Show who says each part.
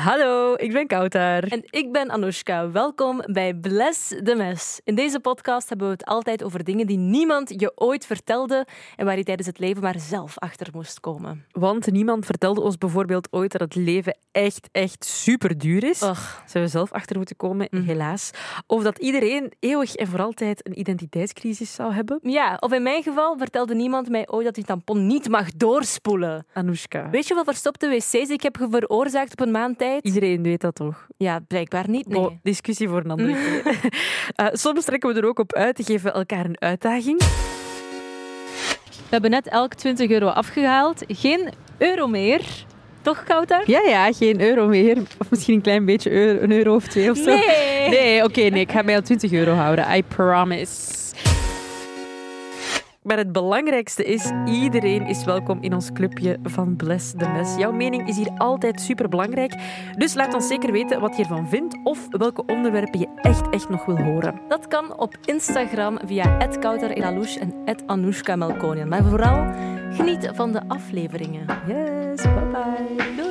Speaker 1: Hallo, ik ben Kouter.
Speaker 2: En ik ben Anoushka. Welkom bij Bless de Mes. In deze podcast hebben we het altijd over dingen die niemand je ooit vertelde en waar je tijdens het leven maar zelf achter moest komen.
Speaker 1: Want niemand vertelde ons bijvoorbeeld ooit dat het leven echt, echt super duur is. Daar
Speaker 2: Och,
Speaker 1: Zijn we zelf achter moeten komen,
Speaker 2: Mhm.
Speaker 1: helaas. Of dat iedereen eeuwig en voor altijd een identiteitscrisis zou hebben.
Speaker 2: Ja, of in mijn geval vertelde niemand mij ooit dat je tampon niet mag doorspoelen.
Speaker 1: Anoushka,
Speaker 2: Weet je hoeveel verstopte wc's ik heb veroorzaakt op een maand tijd?
Speaker 1: iedereen weet dat toch?
Speaker 2: Ja, blijkbaar niet,
Speaker 1: Bo,
Speaker 2: nee.
Speaker 1: discussie voor een andere keer. Eh, soms trekken we er ook op uit en geven we elkaar een uitdaging.
Speaker 2: We hebben net elk 20 euro afgehaald. Geen euro meer. Toch, Kouter?
Speaker 1: Ja, ja, geen euro meer. Of misschien een klein beetje euro, een euro of twee of zo.
Speaker 2: Nee!
Speaker 1: Nee, oké, nee. Ik ga mij aan 20 euro houden. I promise. Maar het belangrijkste is, iedereen is welkom in ons clubje van Bless de Mes. Jouw mening is hier altijd superbelangrijk. Dus laat ons zeker weten wat je ervan vindt of welke onderwerpen je echt, echt nog wil horen.
Speaker 2: Dat kan op Instagram via @kouterelalous en @anoushka Melkonian. Maar vooral geniet van de afleveringen.
Speaker 1: Yes, bye bye.
Speaker 2: Doei.